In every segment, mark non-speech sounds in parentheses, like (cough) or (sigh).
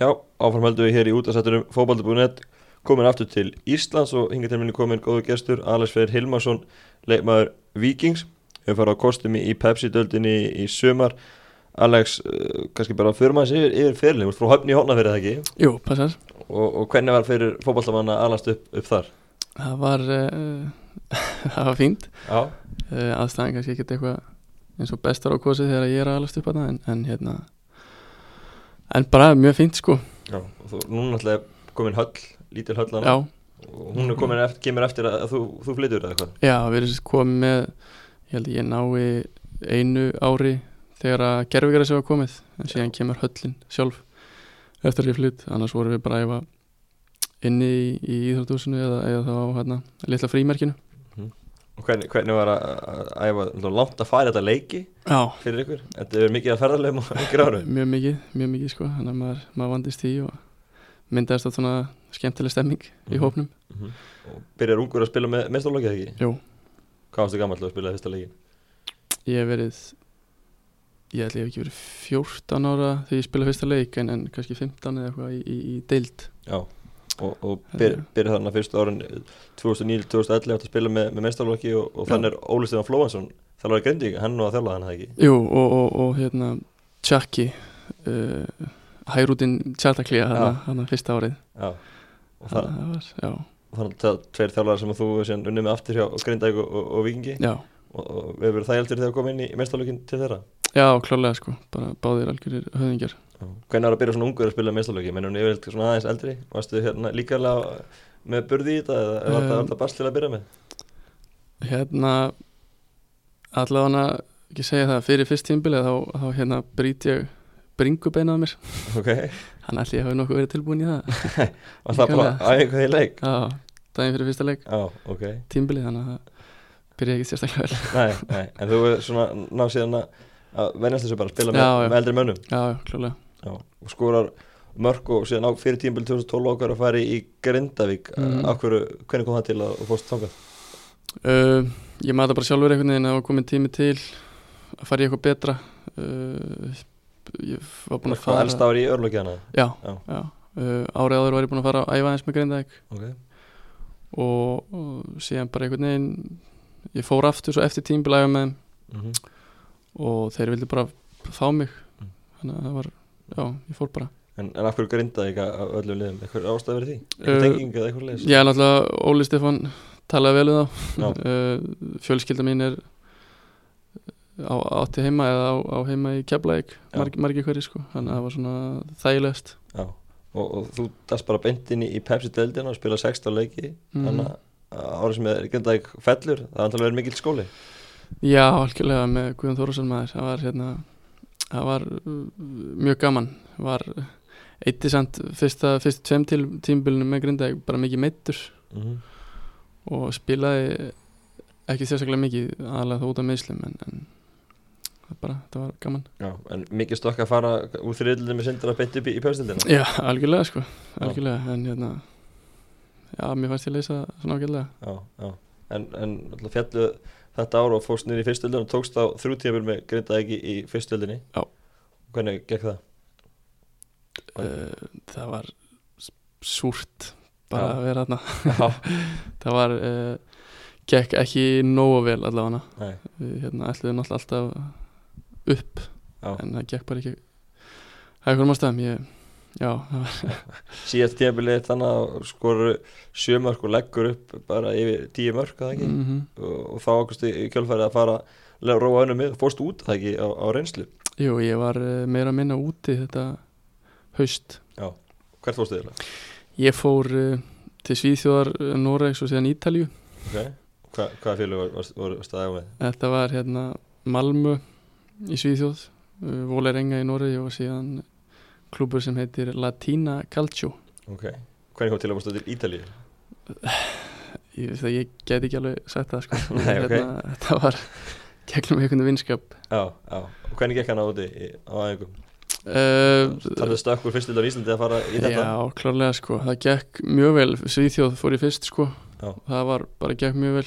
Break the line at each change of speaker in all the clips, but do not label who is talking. Já, áfram heldum við hér í útasættunum fókbaldi.net komin aftur til Íslands og hinga til minni komin góðu gestur Alex Freyr Hilmarsson, leikmaður Vikings við farið á kostumi í Pepsi-döldinni í sumar Alex, eh, kannski bara fyrir maður yfir, yfir fyrirlið, þú ert frá höfni í honna fyrir það ekki
Jú, passar
og, og hvernig var fyrir fókbaldamanna alast upp, upp þar?
Það var, uh, (laughs) það var fínt
Já,
uh, Aðstæðan kannski ekkert eitthvað eins og bestar á kosið þegar ég er aðalast upp að það en, en hérna En bara mjög fínt sko
Já og þú, núna náttúrulega komin höll, lítil höll
Já,
og hún er komin eftir, kemur eftir að, að þú, þú flytur eða eitthvað
já, við erum sérst komið með Ég held að ég nái einu ári þegar að gerfingar þessi var komið En síðan kemur höllin sjálf eftir að ég flytt Annars vorum við bara að æfa inni í, í íþróttúsinu eða, eða þá hérna litla frímerkinu
og hvernig, hvernig var að, að, að, að langt að fara þetta leiki
Já,
fyrir ykkur? Þetta er mikið að ferðarlegum á (laughs) ykkur árum
mjög mikið, mjög mikið sko þannig að maður, maður vandist því og myndaðist þetta svona skemmtileg stemming í
Mhm.
hópnum
og byrjar ungur að spila með mestarlokið ekki?
Jú,
Hvað varstu gammal að spila í fyrsta leikin?
ég hef verið ég ætla ég hef ekki verið 14 ára þegar ég spilaði fyrsta leik en, en kannski 15 eða eitthvað í, í, í deild
Já, og, og byr, byrjar þarna fyrstu árin eh, 2009-2011 átt að spila með, með mestarlokið og, og
Já.
þannig er Óli Stefán Flóhansson þjálfari Grindvík, hann nú að þjálfa hann ekki?
Jú, og, og, og hérna Chucky uh, Hærútin Tjartaklía
Já.
hann að fyrsta árið
Já, og það,
þannig að það var, já,
þannig að tveir þjálfari sem að þú síðan unnið með aftur hjá Grindvík og, og, og Vikingi
já,
og, og við verðum það heldur þegar komið inn í mestarlokin til þeirra?
já, klárlega sko bara báðir algjörir höfðingjar
Já. Hvernig var að byrja svona ungur að spila mestarlöki? Mennum niður eitthvað svona aðeins eldri? Varstu hérna líkarlega með burði í þetta eða um, var
Um,
þetta alltaf basl til að byrja með?
Hérna allavega ekki segja það fyrir fyrst tímbilið þá, þá hérna brýt ég bringu beinað mér
Ok,
hann allir ég hafi nokkuð verið tilbúin í það
var það bara
Líkamlega.
aðeins í leik?
á daginn fyrir fyrsta leik
Já, ok,
tímbilið þannig að það byrja ekki sérstaklega vel
nei, nei, en þú er svona náð síðan að- að venjast þessu bara að spila með,
Já, já.
með eldri mönnum
Já, já, klálega
já. og skorar mörg og síðan á fyrir tímbil 2012 okkar að fara í Grindavík mm.
Mhm.
hverju, hvernig kom það til að þú fórst þangað?
uh, Ég maður bara sjálfur einhvern veginn að það var komin tími til að fara í eitthvað betra uh, ég var búin að
Hvað
fara
Sko, elsta var í örlökiðana?
Já,
Já.
já. Uh, árið áður var ég búin að fara að æfa eins með Grindavík
Ok,
og, og síðan bara einhvern veginn ég fór aftur svo eftir tímbilæga með þeim
mm
og þeir vildi bara fá mig
Mm.
þannig að það var, já, ég fór bara
en, en af hverju Grindavík af af öllum liðum? Eitthvað ástæð verið því?
Uh,
Eitthvað tenging eða eitthvað leis?
ég er náttúrulega, Óli Stefán talaði vel um
Já.
(laughs) þá uh, fjölskylda mín er á, átti heima eða á, á heima í Keflæk
Já.
marg, margir hverjir sko, þannig að það var svona þægilegast
Já, og, og þú dast bara beint inn í, í Pepsi-deldina og spila 16 leiki
Mhm.
þannig að árið sem er grindaðið fellur, það er antalega verið mikill skóli
já, algjörlega með Guðjón Þórósson maður það var hérna það var uh, mjög gaman var eittisand fyrsta, fyrstu tveim til tímbilinu með Grindavík bara mikið meittur
mm -hmm.
og spilaði ekki sérstaklega mikið aðalega þó út af meðslum en, en það bara, það var gaman
Já, en mikið stokk að fara úr þriðlunum með sindar að beint upp í, í Pepsi-deldina
Já, algjörlega sko, algjörlega en hérna, já, mér fannst ég leysa svona ágætlega
Já, já, en, en náttúrulega fjallu þetta ára og fórst niður í fyrstdeldina og tókst á þrjú tímur með grindaðið í, í fyrstdeldinni
Já.
Hvernig gekk það? Oj.
uh, það var s- súrt bara
Já.
að vera þarna (laughs)
Já,
það var, uh, gekk ekki nógu vel allavega
nei,
við hérna ætluðum náttúrulega alltaf upp
já
en það gekk bara ekki það er hverjum ástæðum, ég, já, það var
Síðast tímabilið þannig að skoru sjö mörg og leggur upp bara yfir tíu mörg, eða ekki?
mm
og og þá ákvæmst í kjölfærið að fara að róa önum mið, fórst út það ekki á, á reynslu
Jú, ég var eh, meira að minna úti þetta haust.
hvert fórstu þér?
Ég fór eh, til Svíþjóðar, eh, Noregs og síðan Ítalju.
Okay. Hva, hvaða félög var, var, var staðið með?
Þetta var hérna Malmö í Svíþjóð, eh, Volerenga í Noregi og síðan klúbur sem heitir Latina Calcio.
Okay. hvernig kom til að fórstu til Ítalíu?
Ég veist að ég get ekki alveg sagt það sko.
(laughs) Nei, ok.
þetta var (laughs) gegnum einhvern vinskap.
Já, já, og hvernig gekk hann á úti í- á aðeingum?
Uh,
Tarðu stökkur fyrst til á Íslandi að fara í þetta?
Já, klárlega sko, það gekk mjög vel Svíþjóð fór ég fyrst sko
Já.
það var bara gekk mjög vel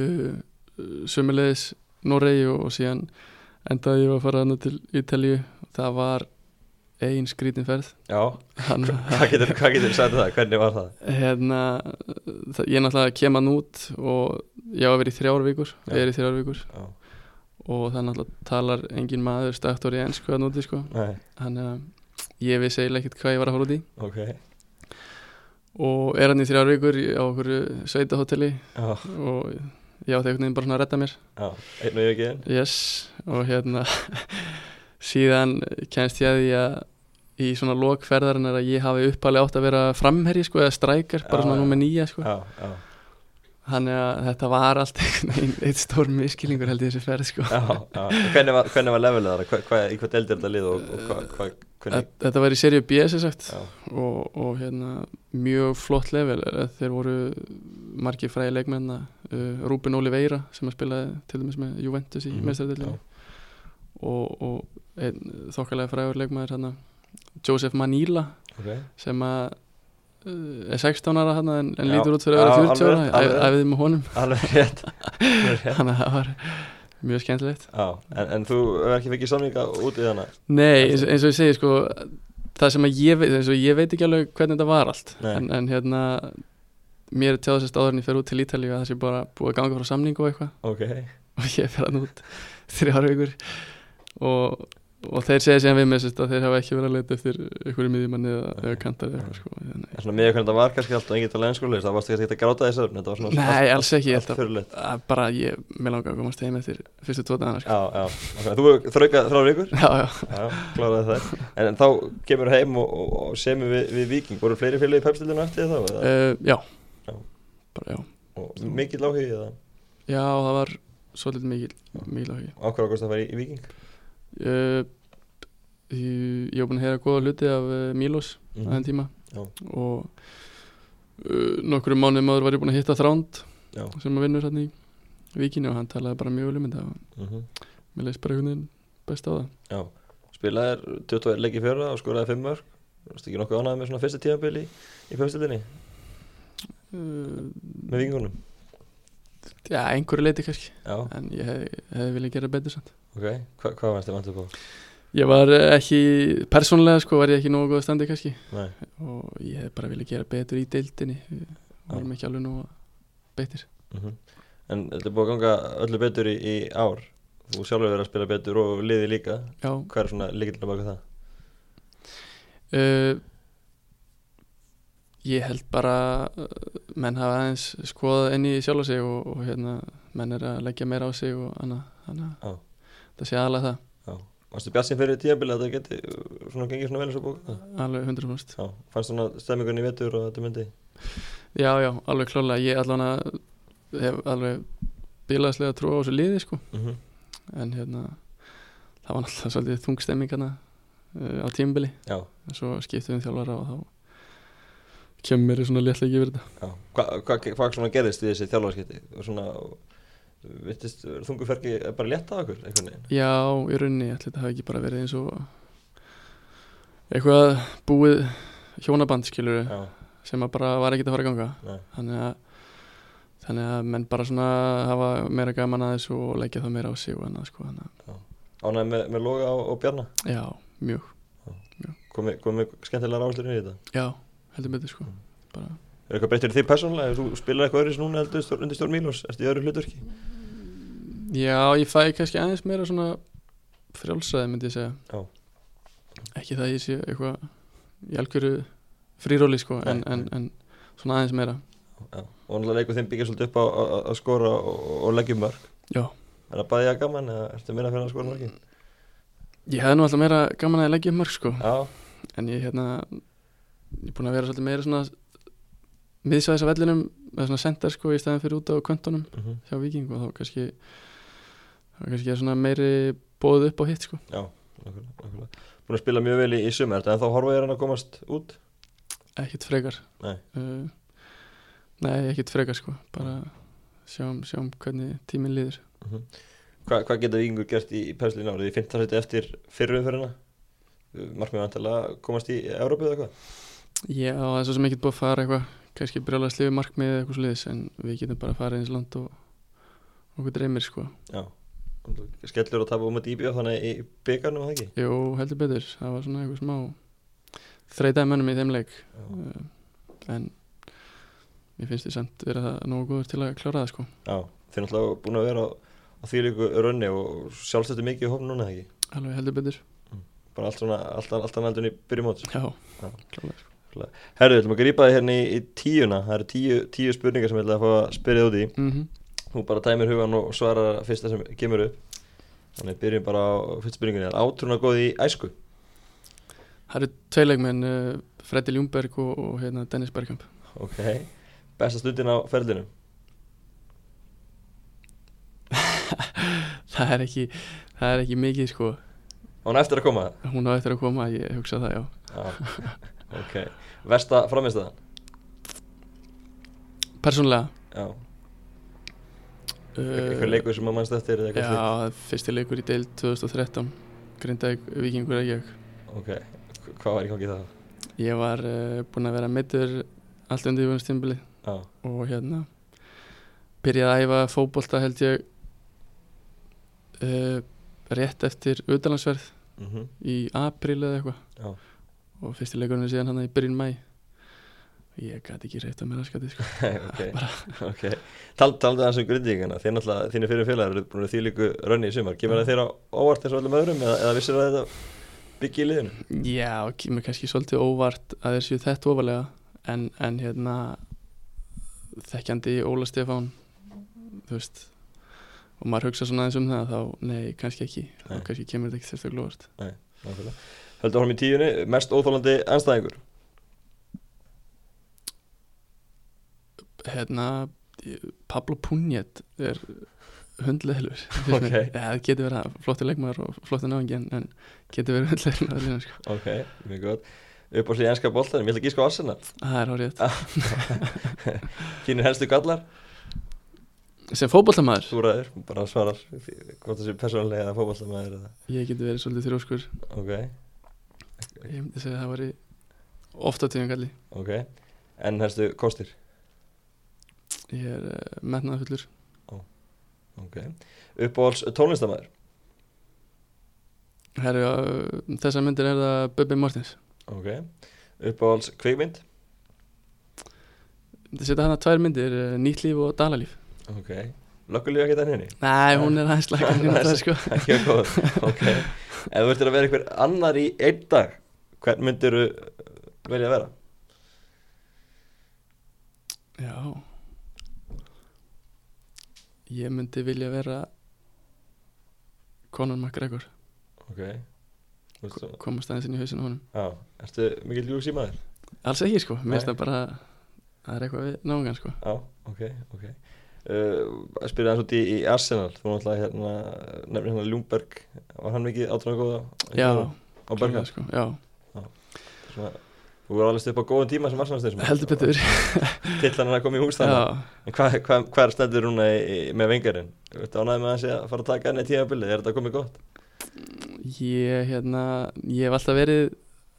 uh, sömulegis Noregi og, og síðan endaði ég að fara hann til Ítalíu það var ein
(laughs)
skrítin ferð
Já,
Hann,
hvað getur, hvað getur sagt um það, hvernig var það?
hérna, það, ég náttúrulega kem að nút og ég á að vera í þrjár vikur
Já.
er í þrjár vikur
Já,
og það náttúrulega talar engin maður staktor í ennsku að núti sko
nei,
hann er ég vissi eiginlega ekkert hvað ég var að hóla út í
ok
og er hann í þrjár vikur í- á okkur sveitahotelli
Já,
og ég átti einhvern veginn bara svona að redda mér
já, einn og ég ekki einn
yes og hérna (laughs) síðan kennst ég að því að í svona lokferðarinn er að ég hafi uppalega átt að vera framherji sko eða strækar
Já,
bara
já.
svona númer nýja sko
Já, já,
Þannig að þetta var allt (laughs) einhvern veginn eitt stór miskilningur held ég þessi ferð sko.
já, já Hvernig var, hvernig var levelið þar? Hva, hva, í hvað deildir þetta lið og, og hvað, hva,
Þetta
hvernig?
þetta var í seríu B sem sagt
Já,
og, og hérna mjög flott level eh, þeir voru margir fræði leikmenn uh, Rúben Oliveira sem að spilaði til dæmis með Juventus í
Mhm,
mm, og, og einn þokkalega fræður leikmæður hérna Joseph Manila
ok
sem að uh, er 16 ára hérna en, en
Já.
lítur út fyrir
Já,
að vera
alveg
40
rétt, alveg rétt.
ára Ég æf- æfði með
(laughs)
honum
Alveg rétt, alveg rétt.
þannig að það var mjög skemmtilegt
Já, en, en þú hefur ekki fengið samlinga út í þarna?
Nei, eins, eins og ég segi sko það sem að ég veit, eins og ég veit ekki alveg hvernig þetta var allt
Nei.
en, en hérna mér er tjáðsest áður en ég fer út til Ítalíu að það sé bara búið að ganga frá samningu og eitthvað (laughs)
Ok,
og ég fer hann út þrjár vikur og, og þeir segja síðan við mér sérst að þeir hafa ekki verið að leita eftir einhverju miðjumanni eða, eða kantar eða eitthvað sko Nei,
en svona með hvernig þetta var kannski allt og enginn til ennskulegist, það varst ekki að gráta þessu öfn, þetta var svona
Nei alls ekki, ég
allt
held að
fyrirleitt.
að bara ég, mér langar að komast heim eftir fyrstu tvo dagana sko
Já, já, ok, þú þraukað þrjá vikur,
Já, já,
já, kláraði það. En, en þá kemur heim og, og, og semur við, við Viking, voru fleiri félagi í pepstildinu eftir þá? eða?
uh, já.
Já.
bara já
Og mikill áhugið það,
Já, það var svolítið mikil, mikil áhugi
á hverju ákvæmst að fara í, í Viking?
Uh, ég hef búin að heyra góða hluti af uh, Milos
Mhm.
á þenn tíma
Já.
og uh, nokkru mánuðum áður var ég búin að hitta Þránd
Já.
sem að vinnur hérna í vikinni og hann talaði bara mjög vel um þetta og
Mm
mér leist bara einhvern veginn best á það
Já, spilaðir 21 leik í fyrra og skoraði 5 mörg, varst ekki nokkuð ánægð með svona fyrsta tímabili í, í pepstildinni
uh,
með Vikingunum?
Já, einhverju leiti kannski
Já,
en ég hefði hef viljað gera betur samt
ok, Hva, hvað varst þið vantur på?
Ég var eh, ekki, persónlega sko var ég ekki nógu góða standi kannski
Nei.
og ég hefði bara viljað gera betur í deildinni við
Já.
varum ekki alveg nógu betur
-hmm. En þetta er búið að ganga öllu betur í, í ár Þú sjálfur verið að spila betur og liði líka
Já,
Hvað er svona líkilina baka það?
Uh, ég held bara uh, menn hafa aðeins skoðað inn í sjálf sig og, og hérna, menn er að leggja meira á sig og annað þannig
Já.
að það sé aðalega það
Varstu bjassin fyrir tíðabilið að það geti uh, svona gengið svona vel eins og búið það?
alveg 100%
Já, fannst svona stemmingunni í vetur og þetta myndi?
já já, alveg klálega, ég allan að hef alveg bilaðslega trú á þessu liði sko
Mm -hmm.
en hérna, það var náttúrulega svolítið þungstemming hérna uh, á tímbili
Já,
en svo skiptum við um þjálfara og þá kemur mér í svona léttleiki yfir þetta
já Hvað hva, hva, hvað svona gerðist í þessi þjálfarskipti? Og svona, vittist, þunguferki bara létta á okkur einhvern veginn?
Já, í rauninni, ég ætla þetta hafi ekki bara verið eins og eitthvað búið hjónaband skilur
Já,
sem að bara var ekkert að fara að ganga
nei,
þannig að, þannig að menn bara svona hafa meira gaman að þessu og leggja það meira á sig og annað sko þannig að,
ánægð með, með loga og, og bjarna
já, mjög,
komið komi skemmtilega ráðslir inn í þetta
já, heldur betur
Mm.
sko bara,
Er eitthvað breytt fyrir því persónulega? Þú spilar eitthvað öðris núna heldur stjór- undir stjórn Mílós? Ertu í öðru hlutverki?
já, ég fæ kannski aðeins meira svona frjálsræði myndi ég segja
Já.
ekki það ég sé eitthvað í algjöru fríróli sko en,
Nei,
en, en svona aðeins meira
Já, og náttúrulega leikur þeim byggja svolítið upp á á- á- að skora og, og leggja upp mörg
Já.
Er það bæðið að gaman eða ertu meira fyrir að skora mörgin?
Ég hefði nú alltaf meira gaman að leggja upp mörg sko
Já,
En ég hérna Ég er búin að vera svolítið meira svona Miðsvæðis af vellinum Eða svona sendar sko í staðin fyrir út á kvöntunum
mm
Hjá Víking og þá kannski Þá kannski er svona meiri bóðið upp á hitt sko
já, nákvæmlega, nákvæmlega Búin að spila mjög vel í, í sumar, en þá horfa ég hann að komast út
Ekkit frekar
Nei.
uh, Nei, ekkit frekar sko Bara sjáum, sjáum hvernig tíminn líður
mm Hva, Hvað geta vikingur gert í, í penslinu árið? Í 15 seti eftir fyrrum fyrir hana? Markmið vantilega að komast í Európu eða hvað?
Já, það er svo sem ekkit búið að fara eitthvað Kannski brjóla sliði markmið eða eitthvað sliðis En við getum bara að fara eins land og Okkur dreymir sko
Já, skellur að tapa um að dýbja þannig í byggarnum það ekki
Jú, heldur betur, það var svona eitthvað smá þreitaði mönnum í þeim leik
já,
uh, en mér finnst þið samt vera það nógu góður til að klára það sko
já þeir náttúrulega búin að vera á, á því líku rönni og sjálfstættu mikið í hófn núna það ekki
alveg heldur betur,
bara allt svona, allt, allt annað heldur en í byrjumót
já,
Já.
klálega sko.
herru, við ætlum að grípa þig hérna í, í tíuna það eru tíu, tíu spurningar sem ég ætla að fá að spyrja þig út í
mm
þú bara tæmir hugan og svarar fyrsta sem kemur upp þannig byrjum bara á fyrst spurningunni átrúna góð í æsku
Það eru tvei leikmenn, uh, Freddi Ljungberg og, og hérna, Dennis Bergkamp
ok, besta stundin á ferlinu
það er ekki, það er ekki mikið sko
og hann eftir að koma
hún á eftir að koma, ég hugsa það já (laughs)
Já, ok, versta framistæðan
persónlega
Já,
uh,
einhver leikur sem að mannst eftir eða
já,
eitthvað
það er fyrsti leikur í deil 2013 Grindavík vikingur að ég
slíkt Ok, h- hvað var í gangi það?
Ég var uh, búinn að vera meittur allt undir vunstimbili
Já,
og hérna byrjaði að æfa fótbolta held ég uh, rétt eftir auðalansverð
mhm, (laughs)
í apríl eða eitthvað
já,
og fyrsti leikurinn er síðan hann í byrjun mæ ég gæti ekki reyta mér að skati sko.
(laughs) ok,
(laughs)
ok Tal, Taldu aðeins um grindíkana, þér náttúrulega, þínu fyrir félagar eru búin að því líku rönni í sumar Kemur það þér á óvart eins og öllum öðrum eða, eða vissir að þetta byggja í liðinu?
Já, og kemur kannski svolítið óvart að þeir séu þetta ofalega en, en hérna þekkjandi Óla Stefán þú veist og maður hugsa svona aðeins um það þá nei, kannski ekki, þá
Nei.
kannski kemur þetta ekki sérstaklega óvart
Nákvæmlega. Höldu honum í tíunni, mest óþólandi anstæðingur
hérna, ég- Pablo Punjet er hundleðilur
Ok.
ja, það getur verið að flottir leikmaður og flottir náðingi en, en getur verið hundleðilur sko.
Ok, mjög gott Upp á sig í enska boltanum, ég ætla að gíska á Arsenal
það er hórið
Þínir helstu gallar,
sem fótboltamaður,
þú ræður, bara svarar Hvort það sé persónulega eða fótboltamaður eða
ég getur verið svolítið þrjóskur
Ok,
ég myndi segja að það væri ofta tíðan galli
ok En hérstu kostir
Ég er uh, metnaðafullur
Ok Uppáhalds tónlistamæður
Herru, uh, þessar myndir er það Bubbi Mortens
Ok Uppáhalds kvikmynd
Það setja hana tvær myndir, uh, nýtt líf og dalalíf
Ok Löggulíu ekki þannig henni (laughs)
Nei, hún er aðeins lagan
Nei,
hérna það sko
Ekki að góð Ok Ef þú ertur að vera einhver annar í einn dag Hvern myndir velja að vera?
Já Ég myndi vilja vera Conan McGregor
Ok Þú ert svona-
komast aðeins inn í hausinu honum
Já Ertu mikill ljúsi maður?
Alls ekki sko, mér finnst
Nei.
það bara Það er eitthvað við náungan sko
Já Ok Ok Uh, að spyrja hans út í, í Arsenal þú náttúrulega hérna nefnir hérna Ljungberg var hann mikið Hérna? átrúna góða
Já,
á Berga
klárlega, sko. Já,
svona, þú voru alveg upp á góðan tíma sem Arsenalstins
heldur betur
Tillan er að koma í hús þannig
Já,
En hvað hva, hva er stendur núna í, í, með vengarinn? Þú ert ánægð með að sé að fara að taka hann í tímabilið Er þetta komið gott?
ég hérna Ég hef alltaf verið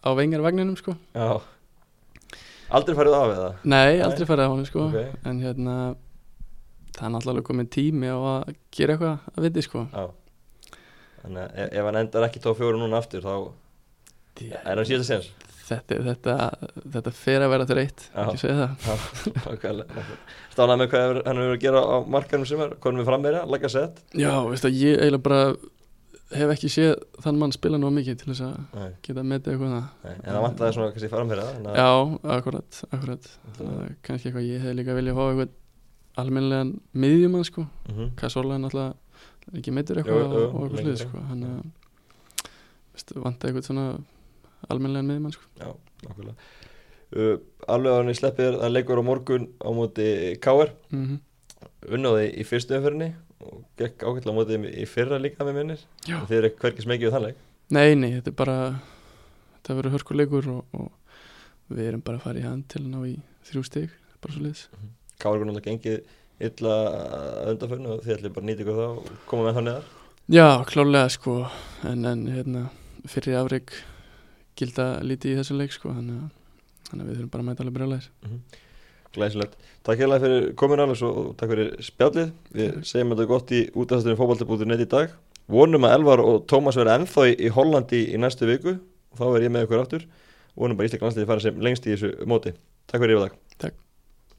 á vengarvagninum sko
Já Aldrei farið af eða?
Nei,
Nei.
aldrei farið á honum sko
Ok.
En hérna Það er náttúrulega komin tími á að gera eitthvað að viti sko
Já Þannig að eh, ef- ef hann endar ekki tóf fjóru núna aftur þá er hann síðast
(laughs)
séns
Þetta, þetta, þetta fer að vera þreytt
Já.
Ekki segja það
Já, nákvæmlega Stánað með hvað hefur- hann hefur verið að gera á markanum sem er Konum við frammeira, leggja sett
Já, veist að ég eiginlega bara Hef ekki séð þann mann spila nóg mikið Til þess að
Nei,
geta metið eitthvað um það
nei, En það vantaði svona kannski frammeira þannig að-
Já, akkurat, akkurat
Þannig
Það
að-
er kannski eitthvað ég hef líka viljað fá eitthvað Almennilegan miðjumann sko
Mhm.
Kassorlega náttúrulega er ekki
Jú,
meittur eitthvað
jú,
og- og eitthvað
lengur,
sluðið sko
já.
hann vant eitthvað svona almennilegan miðjumann sko
Já, nákvæmlega Uh, Alveg að hann í sleppir að leikur á morgun á móti KR
mm
unnaði í fyrstu umferðinni og gekk ákveðlega á mótið þeim í fyrra líka með minnir
Já.
og þeir eru hverkið smekið við þannleik
Nei, nei, þetta er bara þetta verður hörkuleikur og, og við erum bara að fara í hann til að ná í þrjú stig, bara svo liðs
Káur er náttúrulega gengið illa að undanförnu og þeir ætlir bara að nýta ykkur það og koma með það neðar
Já, klálega sko en, en hérna, fyrir afreg gilda lítið í þessum leik sko þannig að, þannig að við þurfum bara að mæta alveg brjólaðir
Glæsilegt. Takk hérlega fyrir komin Alex og og takk fyrir spjallið. Við segjum þetta gott í útastastunum fótballtabútur.net í dag. Vonum að Elvar og Tómas verða ennþá í, í Hollandi í næstu viku. Þá er ég með ykkur aftur. Vonum bara Ísleik landsliði fara sem lengst í þessu móti. Takk fyrir yfir dag.
Takk.